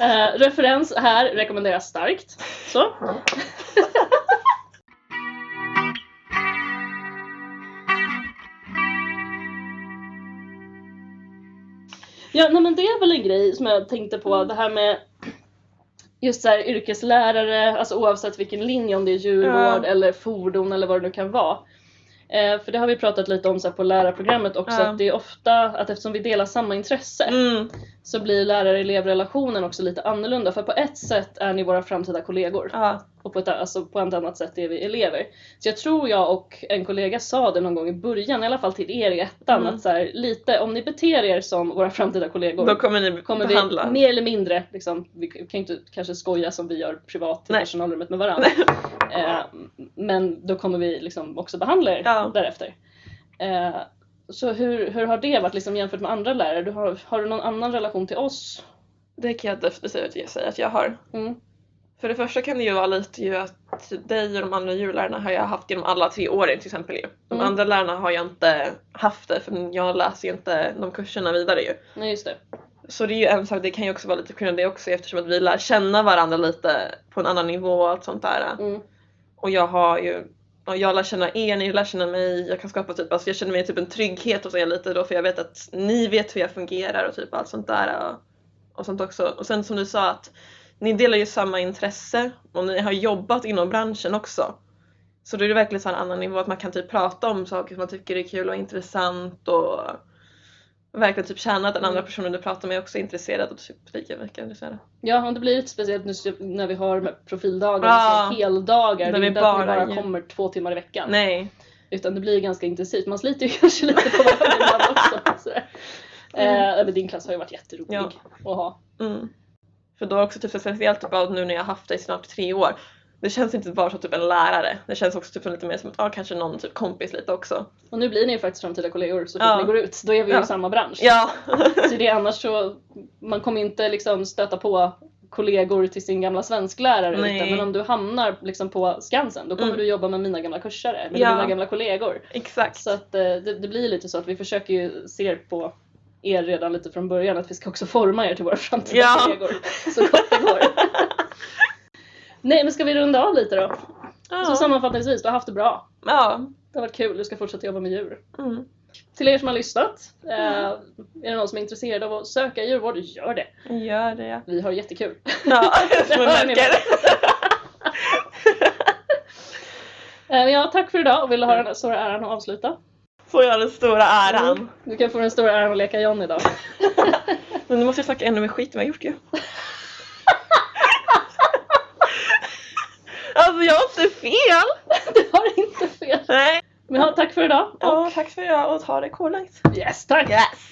Speaker 1: Eh, referens här rekommenderas starkt. Så. Ja, nej, men det är väl en grej som jag tänkte
Speaker 2: Mm.
Speaker 1: på, det här med just så här, yrkeslärare, alltså oavsett vilken linje, om det är djurvård
Speaker 2: Ja.
Speaker 1: eller fordon eller vad det nu kan vara. Eh, för det har vi pratat lite om så här, på lärarprogrammet också,
Speaker 2: Ja.
Speaker 1: att det är ofta att eftersom vi delar samma intresse
Speaker 2: Mm.
Speaker 1: så blir lärare-elevrelationen också lite annorlunda. För på ett sätt är ni våra framtida kollegor
Speaker 2: Ja.
Speaker 1: och på ett, alltså på ett annat sätt är vi elever. Så jag tror jag och en kollega sa det någon gång i början, i alla fall till er i ettan,
Speaker 2: Mm.
Speaker 1: att så här, lite om ni beter er som våra framtida kollegor
Speaker 2: Då kommer ni
Speaker 1: kommer
Speaker 2: behandla.
Speaker 1: vi mer eller mindre, liksom, vi kan ju inte kanske skoja som vi gör privat i
Speaker 2: Nej.
Speaker 1: personalrummet med varandra. Eh, men då kommer vi liksom också behandla er
Speaker 2: Ja.
Speaker 1: därefter. Eh, så hur, hur har det varit liksom, jämfört med andra lärare? Du har, har du någon annan relation till oss?
Speaker 2: Det kan jag definitivt säga att jag har.
Speaker 1: Mm.
Speaker 2: För det första kan det ju vara lite ju att dig och de andra djurlärarna har jag haft genom alla tre åren till exempel ju. De
Speaker 1: Mm.
Speaker 2: andra lärarna har jag inte haft det för jag läser ju inte de kurserna vidare ju.
Speaker 1: Nej just det.
Speaker 2: Så det är ju en sak, det kan ju också vara lite på grund av det också eftersom att vi lär känna varandra lite på en annan nivå och allt sånt där.
Speaker 1: Mm.
Speaker 2: Och jag har ju och jag lär känna er, ni lär känna mig, jag kan skapa typ, alltså jag känner mig typ en trygghet hos er lite då för jag vet att ni vet hur jag fungerar och typ allt sånt där och, och sånt också. Och sen som du sa att ni delar ju samma intresse och ni har jobbat inom branschen också. Så då är det verkligen så en annan nivå att man kan typ prata om saker som man tycker är kul och intressant och verkligen typ känna att den andra personen du pratar med är också är intresserad och typ lika mycket intresserad.
Speaker 1: Ja, och det blir lite speciellt nu typ när vi har de här profildagar,
Speaker 2: Ja.
Speaker 1: alltså heldagar.
Speaker 2: Där
Speaker 1: Det är
Speaker 2: vi
Speaker 1: inte att vi
Speaker 2: bara-
Speaker 1: bara kommer två timmar i veckan.
Speaker 2: Nej.
Speaker 1: Utan det blir ganska intensivt. Man sliter ju kanske lite på varandra ibland också. sådär. Eh, men din klass har ju varit jätterolig
Speaker 2: Mm. Ja.
Speaker 1: att ha.
Speaker 2: Mm. För då också typ så speciellt typ, av nu när jag har haft dig i snart tre år. Det känns inte bara som typ en lärare. Det känns också typ som lite mer som att, ja, kanske någon typ kompis lite också.
Speaker 1: Och nu blir ni ju faktiskt framtida kollegor så fort
Speaker 2: Ja.
Speaker 1: ni går ut. Då är vi ju
Speaker 2: Ja.
Speaker 1: i samma bransch.
Speaker 2: Ja.
Speaker 1: Så det är annars så, man kommer inte liksom stöta på kollegor till sin gamla svensklärare
Speaker 2: Nej.
Speaker 1: utan, men om du hamnar liksom på Skansen då kommer
Speaker 2: Mm.
Speaker 1: du jobba med mina gamla kursare, med
Speaker 2: Ja.
Speaker 1: mina gamla kollegor.
Speaker 2: Exakt.
Speaker 1: Så att eh, det, det blir lite så att vi försöker ju se på er redan lite från början att vi ska också forma er till våra framtida
Speaker 2: Ja.
Speaker 1: kollegor så gott det går. Nej men ska vi runda av lite då?
Speaker 2: Ja.
Speaker 1: Så sammanfattningsvis, du har haft det bra.
Speaker 2: ja.
Speaker 1: Det har varit kul, du ska fortsätta jobba med djur.
Speaker 2: Mm.
Speaker 1: Till er som har lyssnat, eh, är det någon som är intresserad av att söka i djurvård, gör det!
Speaker 2: Gör det ja.
Speaker 1: Vi har jättekul.
Speaker 2: Ja,
Speaker 1: Det
Speaker 2: som man
Speaker 1: hör ni
Speaker 2: märker.
Speaker 1: Eh, Ja, tack för idag och vill du ha den stora äran att avsluta?
Speaker 2: Får jag den stora
Speaker 1: Mm.
Speaker 2: äran.
Speaker 1: Du kan få den stora äran att leka John idag.
Speaker 2: Men nu måste jag snacka ännu mer skit än vad jag gjort ju. alltså jag har inte fel!
Speaker 1: Du har inte fel.
Speaker 2: Nej.
Speaker 1: Men ja, tack för idag.
Speaker 2: Ja, tack för att jag och ta det kolangt.
Speaker 1: Yes, tack!
Speaker 2: Yes!